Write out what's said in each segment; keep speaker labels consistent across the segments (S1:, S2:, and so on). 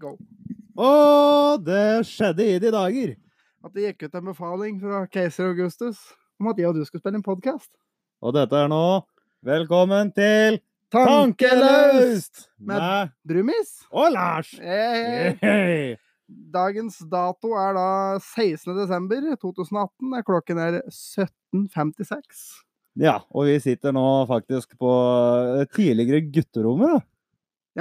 S1: Go.
S2: Og det skjedde i de dager.
S1: At det gikk ut en befaling fra keiser Augustus om at jeg og du skulle spille en podkast.
S2: Og dette er nå Velkommen til
S1: Tankeløst!
S2: Tankeløst!
S1: Med-
S2: Med
S1: Brumis!
S2: og Lars.
S1: Eh,
S2: Yay!
S1: Dagens dato er da 16. desember 2018. Eh, Klokken er 17.56.
S2: Ja, og vi sitter nå faktisk på eh, tidligere gutterommet. da.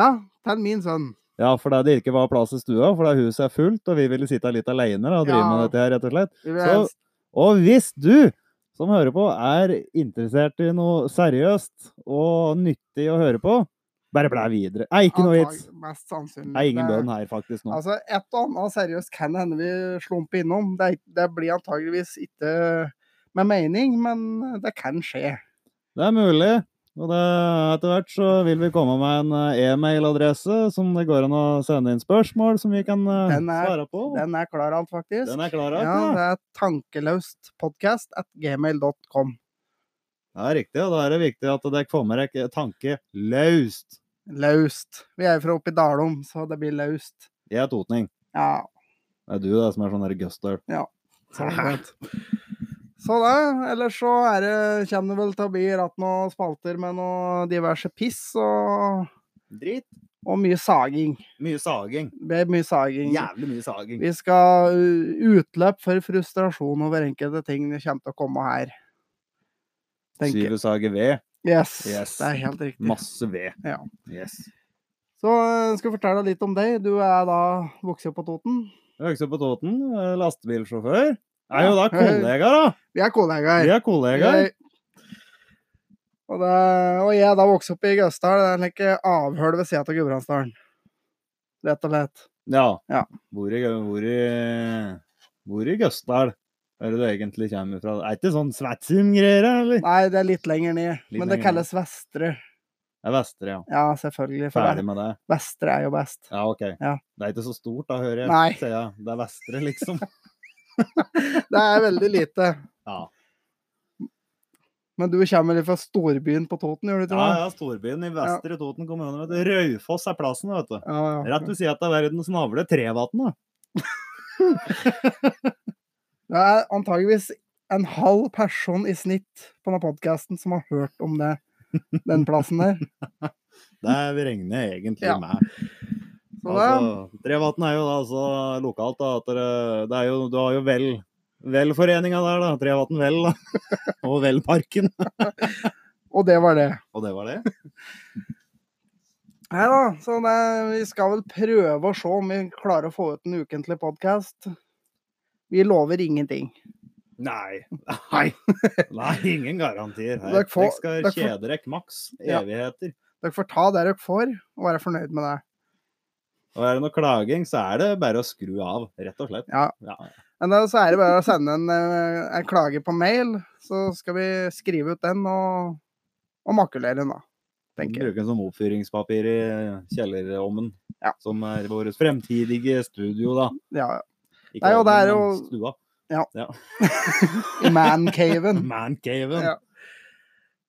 S1: Ja, til min sønn.
S2: Ja, fordi det ikke var plass i stua, fordi huset er fullt, og vi ville sitte litt aleine og drive med
S1: Ja.
S2: dette her, rett og slett.
S1: Vi vil
S2: Så-
S1: helst
S2: Og hvis du som hører på er interessert i noe seriøst og nyttig å høre på, bare blæ videre. Nei, ikke noe
S1: antag-
S2: vits.
S1: Mest sannsynlig.
S2: Det er ingen
S1: Det-
S2: bønn her, faktisk, nå.
S1: Altså, et og annet seriøst kan hende vi slumper innom. Det, er ikk- det blir antageligvis ikke med mening, men det kan skje.
S2: Det er mulig. Og det, etter hvert så vil vi komme med en eh, e-mailadresse som det går an å sende inn spørsmål som vi kan eh,
S1: Den er-
S2: svare på. Den,
S1: Den er klar alt, faktisk.
S2: er klar,
S1: ja,
S2: ikke?
S1: det er tankeløstpodkast at gmail.com.
S2: Det er riktig, og da er det viktig at dere får med dere tanke løst.
S1: Laust. Vi er fra oppe i Dalom, så det blir laust.
S2: Jeg er totning.
S1: Ja.
S2: Det er du det som er sånn der gustøl.
S1: Så, det er greit. så det. Ellers så er det, kommer det vel til å bli ratt noen spalter med noe diverse piss og,
S2: Drit.
S1: og mye saging.
S2: Mye saging.
S1: Det blir mye saging.
S2: Jævlig mye saging.
S1: Vi skal uh, utløp for frustrasjon over enkelte ting det kommer til å komme her. Tenker.
S2: Syve sager ved.
S1: Yes,
S2: Yes.
S1: det er helt riktig.
S2: Masse ved.
S1: Ja.
S2: Yes.
S1: Så uh, skal jeg fortelle litt om deg. Du er da vokst opp på Toten.
S2: Økse på Toten, eh, lastebilsjåfør. Er
S1: Ja.
S2: jo da kollega, da.
S1: Vi er kollegaer.
S2: Vi er kollegaer.
S1: Jeg- Og, det, og jeg er da vokst opp i Gausdal. Det er like avhøl ved sida av Gudbrandsdalen. Rett og slett.
S2: Ja.
S1: Ja.
S2: Hvor i, Gø- hvor i, hvor i Gøsdal er det du egentlig kommer fra? Er ikke sånn Sveitsum-greier, eller?
S1: Nei, det er litt lenger ned.
S2: Litt
S1: men det
S2: lenger ned.
S1: kalles Vestre.
S2: Det er Vestre, ja.
S1: Ja, selvfølgelig. For
S2: Ferdig
S1: det-
S2: med det.
S1: Vestre er jo best.
S2: Ja, OK.
S1: Ja.
S2: Det er ikke så stort, da, hører jeg.
S1: Nei.
S2: Sier jeg. Det er Vestre, liksom.
S1: Det er veldig lite.
S2: Ja,
S1: Men du kommer litt fra storbyen på Toten, gjør du ikke
S2: ja,
S1: det?
S2: ja storbyen i Vestre Toten kommune. vet du. Raufoss er plassen, vet du.
S1: Ja, ja.
S2: Rett ved sida av verdens navle, Trevatn. da.
S1: Det er antageligvis en halv person i snitt på denne podkasten som har hørt om det, den plassen der.
S2: Det regner jeg egentlig
S1: Ja.
S2: med.
S1: Så det,
S2: Altså, Trevatn er jo da altså lokalt, da. At det, det er jo, du har jo vel, velforeninga der, da. Trevatn Vel, da. Og Velparken.
S1: og det var det.
S2: Og det var det.
S1: Nei da, så det, vi skal vel prøve å se om vi klarer å få ut en ukentlig podkast. Vi lover ingenting.
S2: Nei. Nei. Nei, ingen garantier her.
S1: Dere
S2: Dere
S1: får-
S2: skal
S1: dere får-
S2: kjede dere maks
S1: Ja.
S2: evigheter.
S1: Dere får ta det dere får, og være fornøyd med det.
S2: Og er det noe klaging, så er det bare å skru av, rett og slett.
S1: Ja.
S2: Ja.
S1: Men da, så er det bare å sende en, eh, en klage på mail, så skal vi skrive ut den og, og makulere den, da. Tenker jeg.
S2: Bruke den som sånn oppfyringspapir i kjellerovnen.
S1: Ja.
S2: Som er vårt fremtidige studio, da.
S1: Ja,
S2: Ikke
S1: Nei, og det er
S2: ovnen, men Stua.
S1: i mancaven.
S2: Mancaven.
S1: Ja.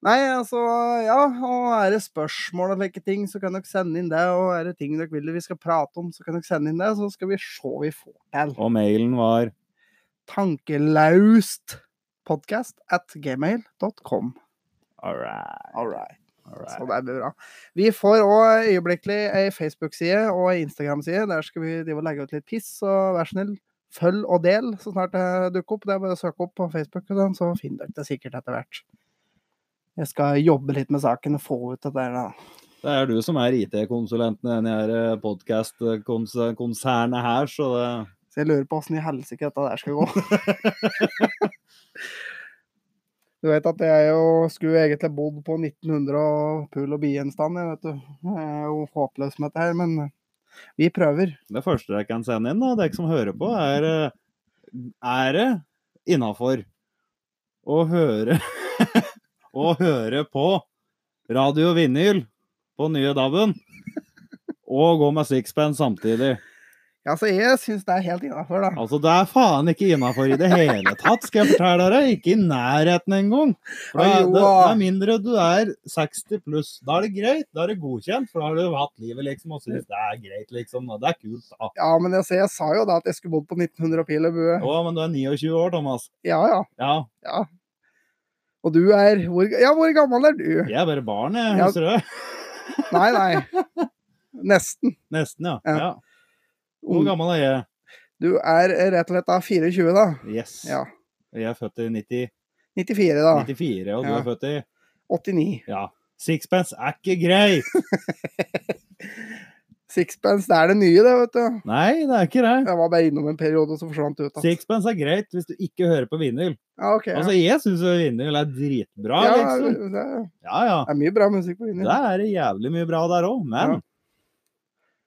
S1: Nei, altså, ja, og er det spørsmål og slike ting, så kan dere sende inn det. Og er det ting dere vil vi skal prate om, så kan dere sende inn det. Så skal vi se hva vi får til.
S2: Og mailen var
S1: Tankelaust podcast at gmail.com.
S2: All right.
S1: All right.
S2: All right.
S1: Så det blir bra. Vi får òg øyeblikkelig ei Facebook-side og ei Instagram-side. Der skal vi drive og legge ut litt piss, så vær så snill, følg og del så snart det dukker opp. Det er bare å søke opp på Facebook, og sånn, så finner dere det sikkert etter hvert. Jeg skal jobbe litt med saken og få ut dette der, da.
S2: Det er du som er IT-konsulenten i denne podkast-konsernet her, så det
S1: Så jeg lurer på åssen i helsike dette der skal gå. Du vet at jeg jo skulle egentlig bodd på 1900 og pul og bie-gjenstand, jeg vet du. Jeg er jo håpløs med dette her, men vi prøver.
S2: Det første jeg kan sende inn, da, dere som hører på, er eh, Er det innafor å høre Å høre på radio vinyl på nye DAB-en og gå med sixpence samtidig?
S1: Ja, så jeg syns det er helt innafor, da.
S2: Altså, det er faen ikke innafor i det hele tatt, skal jeg fortelle dere. Ikke i nærheten engang. For det,
S1: Ai,
S2: er-
S1: jo,
S2: det, det
S1: da.
S2: er mindre du er 60 pluss. Da er det greit. Da er det godkjent, for da har du hatt livet, liksom, og syns det er greit, liksom. og Det er kult, da.
S1: Ja, men jeg, jeg sa jo da at jeg skulle bodd på 1900 pil og bue.
S2: Å, men du er 29 år, Thomas.
S1: Ja, ja.
S2: Ja,
S1: Og du er hvor, Ja, hvor gammel er du?
S2: jeg er bare barn, jeg.
S1: Ja.
S2: Husker du det?
S1: Nei, nei. Nesten.
S2: Nesten, ja.
S1: Ja. Mm.
S2: ja. Hvor gammel er jeg?
S1: Du er rett og slett da 24, da.
S2: Yes.
S1: Ja.
S2: Jeg er født i 90,
S1: 94, da.
S2: 94, og du
S1: Ja.
S2: er født i
S1: 89.
S2: Ja. Sixpence er ikke greit!
S1: Sixpence, det er det nye, det, vet du.
S2: Nei, det er ikke det.
S1: Jeg var bare innom en periode, og så forsvant det ut. da.
S2: Sixpence er greit hvis du ikke hører på vinyl.
S1: Ja, ok. Ja.
S2: Altså, jeg syns vinyl er dritbra,
S1: Ja,
S2: liksom.
S1: det
S2: Ja, ja.
S1: er mye bra musikk på vinyl.
S2: Det er jævlig mye bra der òg, men
S1: Ja.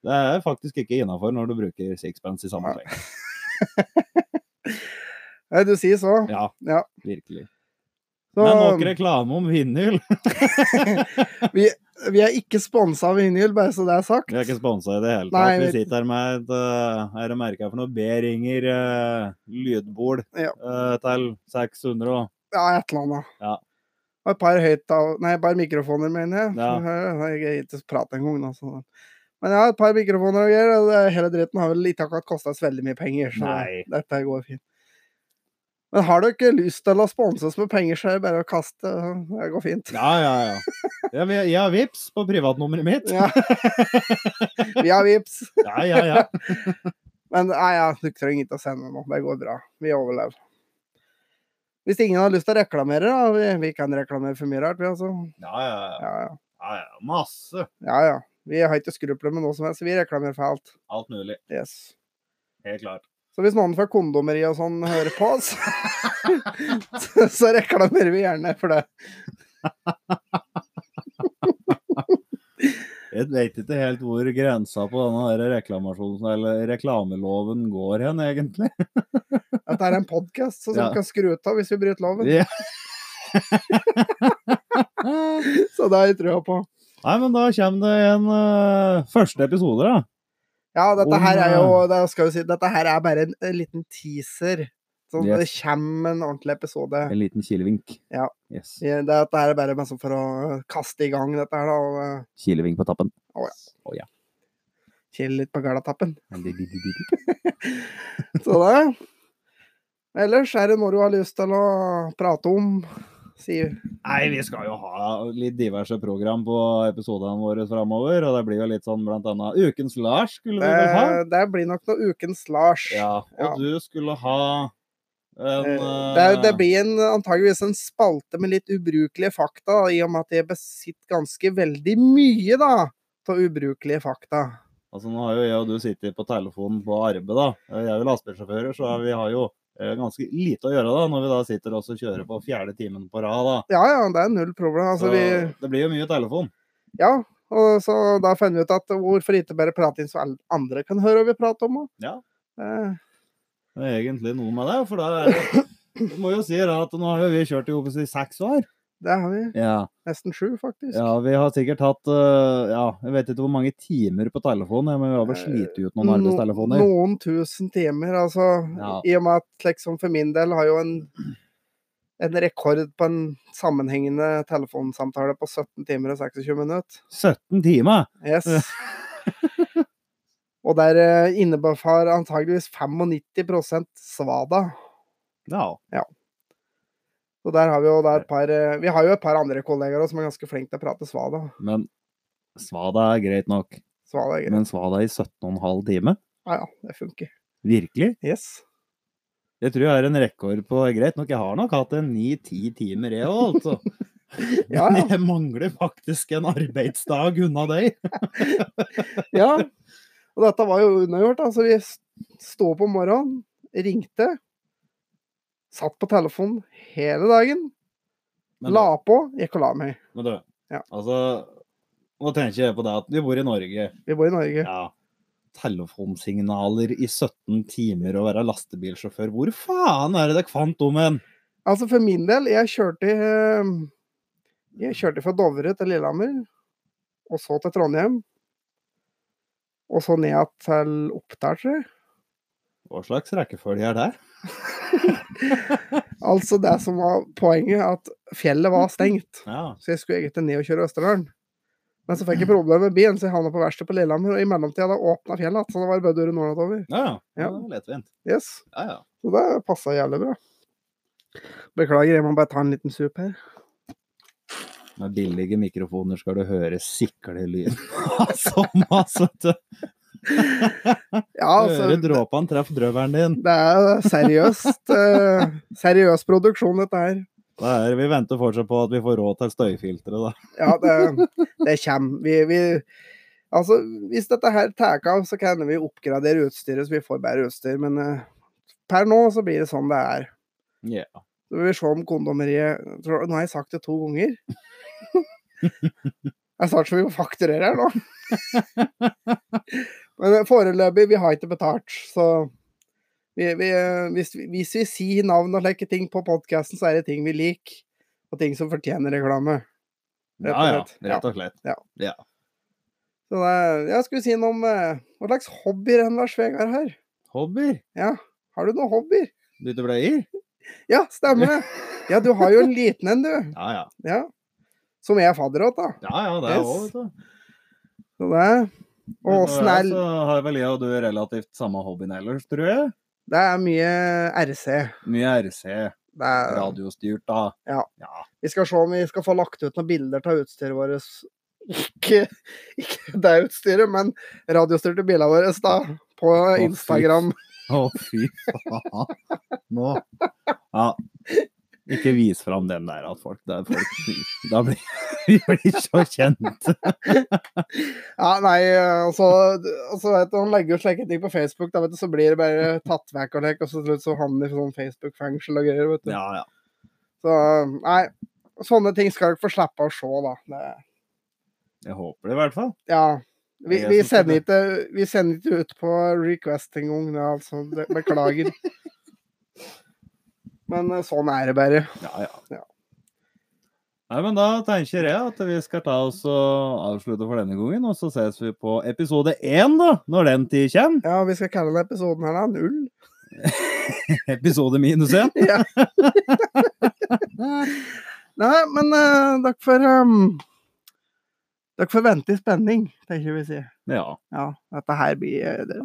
S2: det er faktisk ikke innafor når du bruker sixpence i
S1: Ja.
S2: sammenheng.
S1: Nei, du sier så.
S2: Ja,
S1: Ja.
S2: virkelig.
S1: så
S2: Men nok reklame om vinyl.
S1: vi er ikke sponsa av vinyl, bare så det er sagt.
S2: Vi er ikke sponsa i det hele
S1: Nei,
S2: tatt. Vi
S1: vi-
S2: sitter her med et eh, er det merka for noe B-ringer eh, lydbord
S1: Ja.
S2: eh, til 600 og
S1: Ja, et eller annet.
S2: Ja.
S1: Og et par høyttaler Nei, et par mikrofoner, mener jeg.
S2: Ja.
S1: Jeg jeg greier ikke å prate engang. nå, så- Men ja, et par mikrofoner og greier. og det- Hele dritten har vel ikke akkurat kosta oss veldig mye penger, så
S2: Nei.
S1: det- dette går fint. Men har dere lyst til å sponse oss med penger, så er det bare å kaste. Det går fint.
S2: Ja, ja, ja. Jeg, vil- jeg har vips på privatnummeret mitt.
S1: Ja. Vi har vips.
S2: Ja, ja, ja.
S1: Men nei, ja, du trenger ikke å sende noe. Det går bra. Vi overlever. Hvis ingen har lyst til å reklamere, da. Vi, vi kan reklamere for mye rart, vi altså.
S2: Ja, ja, ja.
S1: Ja, ja.
S2: ja, ja. Masse.
S1: Ja, ja. Vi har ikke skrupler med noe som helst. Vi reklamerer for alt.
S2: Alt mulig.
S1: Yes.
S2: Helt klart.
S1: Så hvis noen fra kondomeriet og sånn hører på oss, så, så reklamerer vi gjerne for det.
S2: Jeg vet ikke helt hvor grensa på denne her reklamasjonen, eller reklameloven går hen, egentlig.
S1: Dette er en podkast, så vi
S2: Ja.
S1: kan skru ut av hvis vi bryter loven.
S2: Ja.
S1: Så det har jeg trua på.
S2: Nei, men da kommer det en eh, første episode, da.
S1: Ja, dette
S2: Om,
S1: her er jo
S2: eh,
S1: det skal jeg si, Dette her er bare en, en liten teaser. Sånn, Det
S2: Yes.
S1: kommer en ordentlig episode.
S2: En liten kilevink.
S1: Ja.
S2: Yes.
S1: Ja, Dette her er bare bare sånn for å kaste i gang dette her, da. Og eh,
S2: Kilevink på tappen.
S1: Å, ja.
S2: Å, ja.
S1: kjelle litt på galatappen.
S2: Men de- de- de- de-
S1: Så det. Ellers er det noe du har lyst til å prate om. Sier
S2: Nei, vi skal jo ha litt diverse program på episodene våre framover. Og det blir jo litt sånn blant annet Ukens Lars skulle vi
S1: det,
S2: vel ha.
S1: det blir nok noe ukens Lars.
S2: Ja,
S1: Eh, Ja.
S2: og du skulle ha en
S1: Eh, Det,
S2: eh,
S1: det blir en, antageligvis en spalte med litt ubrukelige fakta, i og med at jeg besitter ganske veldig mye da, av ubrukelige fakta.
S2: Altså Nå har jo jeg og du sittet på telefonen på arbeid, da. Eh, Jeg er jo lastebilsjåfører, så vi har jo eh, ganske lite å gjøre da, når vi da sitter og så kjører på fjerde timen på rad. da.
S1: Ja, ja, det er null problem. Altså,
S2: så
S1: vi,
S2: Det blir jo mye telefon.
S1: ja, og så da fant vi ut at hvorfor ikke bare prate inn så alle andre kan høre hva vi prater om?
S2: Ja.
S1: Eh,
S2: Det er egentlig noe med det. For da er det Du må jo si da at nå har jo vi kjørt i hopet i seks år.
S1: det har vi.
S2: Ja.
S1: Nesten sju, faktisk.
S2: ja, vi har sikkert hatt eh, ja, jeg vet ikke hvor mange timer på telefon, ja, men vi har vel slitt ut
S1: Eh,
S2: noen
S1: No-
S2: arbeidstelefoner.
S1: Noen tusen timer, altså.
S2: Ja.
S1: I og med at liksom for min del har jo en, en rekord på en sammenhengende telefonsamtale på 17 timer og 26 minutter.
S2: 17 timer!
S1: Yes. og der eh, innebærer antageligvis 95 svada.
S2: Ja.
S1: Så der har vi jo da et par eh, Vi har jo et par andre kollegaer også som er ganske flinke til å prate svada.
S2: Men svada er greit nok.
S1: Svada er greit.
S2: Men svada i 17,5 timer?
S1: Ja, ja, det funker.
S2: Virkelig?
S1: Yes.
S2: Jeg tror jeg har en rekord på Greit nok, jeg har nok hatt en ni-ti timer, jeg òg, altså.
S1: Ja,
S2: Men
S1: ja.
S2: Jeg mangler faktisk en arbeidsdag unna deg.
S1: Ja. Og dette var jo unnagjort. Altså, vi st- sto opp om morgenen, ringte, satt på telefonen hele dagen,
S2: Men,
S1: la på, gikk og la meg.
S2: men du,
S1: Ja.
S2: altså Nå tenker jeg på det at vi bor i Norge.
S1: Vi bor i Norge.
S2: Ja. Telefonsignaler i 17 timer og være lastebilsjåfør. Hvor faen er det dere fant om en?
S1: Altså, for min del, jeg kjørte eh, Jeg kjørte fra Dovre til Lillehammer, og så til Trondheim. og så ned igjen til Oppdal, tror jeg.
S2: Hva slags rekkefølge er det?
S1: Altså det som var poenget, at fjellet var stengt,
S2: Ja.
S1: så jeg skulle egentlig ned og kjøre Østerdalen. Men så fikk jeg problemer med bilen, så jeg havna på verkstedet på Lillehammer, og i mellomtida hadde jeg åpna fjellet igjen, så da var det bare å dure nordover.
S2: Ja, ja.
S1: Ja.
S2: ja. det er Lettvint.
S1: Yes.
S2: Ja, ja.
S1: Så det passa jævlig bra. Beklager, jeg må bare ta en liten sup her.
S2: Med billige mikrofoner skal du høre siklelyd. Som altså til
S1: Ja,
S2: Høre
S1: altså,
S2: dråpene treffe drøveren din.
S1: det er seriøst. eh, seriøs produksjon, dette her.
S2: Det er, vi venter fortsatt på at vi får råd til støyfiltre, da.
S1: Ja, det, det kommer. Vi, vi, altså, hvis dette her tar av, så kan vi oppgradere utstyret, så vi får bedre utstyr. Men eh, per nå så blir det sånn det er.
S2: Ja.
S1: Så vil vi se om kondomeriet tror- Nå har jeg sagt det to ganger. Det er snart så vi må fakturere her nå. Men eh, foreløpig, vi har ikke betalt, så vi, vi, eh, hvis, vi- hvis vi sier navn og slike ting på podkasten, så er det ting vi liker, og ting som fortjener reklame. Rett
S2: Ja,
S1: og
S2: ja.
S1: slett.
S2: Rett og slett.
S1: Så det, er- jeg skulle si noe om eh, hva slags hobbyer enn Lars Vegard har.
S2: Hobbyer?
S1: Ja, har du noen hobbyer?
S2: Bytte bløyer?
S1: Ja, stemmer det. Ja, du har jo en liten en, du.
S2: Ja, ja.
S1: Ja. Som jeg er fadder åt, da.
S2: Ja, ja, det er
S1: Yes.
S2: òg, vet du.
S1: Så det er
S2: Men eh, altså-
S1: Og
S2: nå
S1: åssen er
S2: Så har vel jeg og du relativt samme hobbyen ellers, tror jeg.
S1: Det er mye RC.
S2: Mye RC,
S1: Det er,
S2: radiostyrt, da.
S1: vi skal se om vi skal få lagt ut noen bilder av utstyret vårt. Ikke, ikke det utstyret, men radiostyrte bilene våre da, på
S2: fy.
S1: Instagram.
S2: Å, fy faen. Nå. Ja. Ikke vis fram den der at folk, det er folk Da blir vi blir så kjent.
S1: Ja, nei, altså, altså vet du, Han legger ut slike ting på Facebook, da, vet du, så blir det bare tatt vekk og lek, og så til slutt så havner de i sånn Facebook-fengsel og greier. vet du.
S2: Ja, ja.
S1: Så nei, sånne ting skal dere få slippe å se, da. Det,
S2: Jeg håper det, i hvert fall.
S1: ja. Vi,
S2: Det er
S1: vi,
S2: jeg som
S1: sender
S2: skal
S1: ikke, vi sender ikke ut på request engang, det er altså. Det, beklager. Men eh, sånn er det bare.
S2: Ja,
S1: Ja.
S2: ja. Nei, men da tenker jeg at vi skal ta oss og avslutte for denne gangen, og så ses vi på episode én, da, når den tid kommer.
S1: Ja, vi skal kalle denne episoden her da, null.
S2: Episode minus én.
S1: Ja. Nei, men eh, dere får ehm, Dere får vente i spenning, tenker vi å si.
S2: Ja.
S1: Ja, dette her blir eh, det,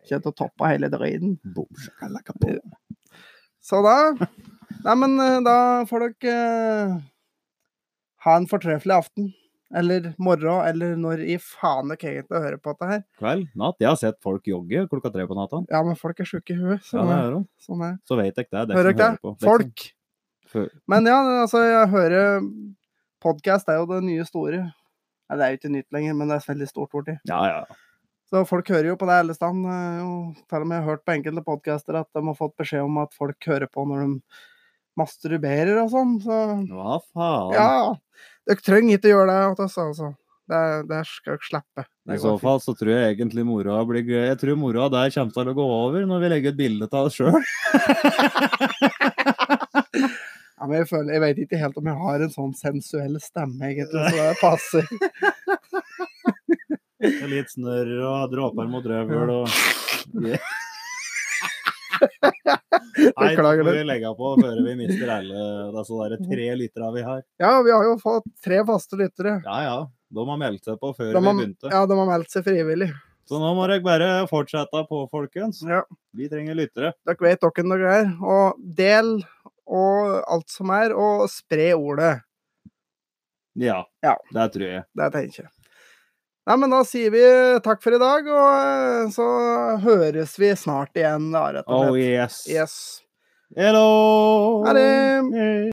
S1: ikke til å toppe hele drøyden.
S2: Boom, shakalaka, boom.
S1: Så da Nei, men eh, da får dere eh, ha en fortreffelig aften. Eller morgen, eller når i faen dere egentlig hører på dette her.
S2: Kveld, natt. Jeg har sett folk jogge klokka tre på natta.
S1: Ja, men folk er sjuke i huet.
S2: Ja,
S1: Sånn,
S2: det
S1: er-
S2: er de.
S1: sånn er
S2: Så vet jeg ikke det. det. er
S1: Hører
S2: ikke
S1: dere
S2: noe å
S1: det.
S2: høre på. Det er ikke sånn-
S1: Folk. Men ja, det- altså, jeg hører Podkast er jo det nye store. Nei, det er jo ikke nytt lenger, men det er veldig stort borti.
S2: noe- Ja, ja.
S1: Så folk hører jo på det alle stand. eh, og Til og med jeg har hørt på enkelte podkaster at de har fått beskjed om at folk hører på når de masturberer og sånn. Så
S2: Hva faen?
S1: Ja! Dere trenger ikke gjøre det. at Altså, altså. Det, det skal dere slippe.
S2: I
S1: Det
S2: så
S1: går fint.
S2: fall så tror jeg egentlig moroa blir gøy. Jeg tror moroa der kommer til å gå over når vi legger ut bilde av oss sjøl.
S1: Ja, men jeg, føler, jeg vet ikke helt om jeg har en sånn sensuell stemme, egentlig, så det passer.
S2: Litt snørr og dråper mot røvel og Nei, det
S1: Beklager det.
S2: må vi legge på før vi mister alle disse der tre lytterne vi har.
S1: Ja, vi har jo fått tre faste lyttere.
S2: Ja ja, de har meldt seg på før
S1: De
S2: vi
S1: har,
S2: begynte.
S1: ja, de har meldt seg frivillig.
S2: Så nå må dere bare fortsette på, folkens.
S1: Ja.
S2: Vi trenger lyttere.
S1: Dere vet hvem dere er. Og del og alt som er, og spre ordet.
S2: Ja,
S1: Ja.
S2: det tror jeg.
S1: Det tenker jeg. Nei, men da sier vi takk for i dag, og eh, så høres vi snart igjen. Da, rett og
S2: Oh
S1: slett.
S2: yes.
S1: Yes.
S2: Hello.
S1: Ha det.
S2: Hey.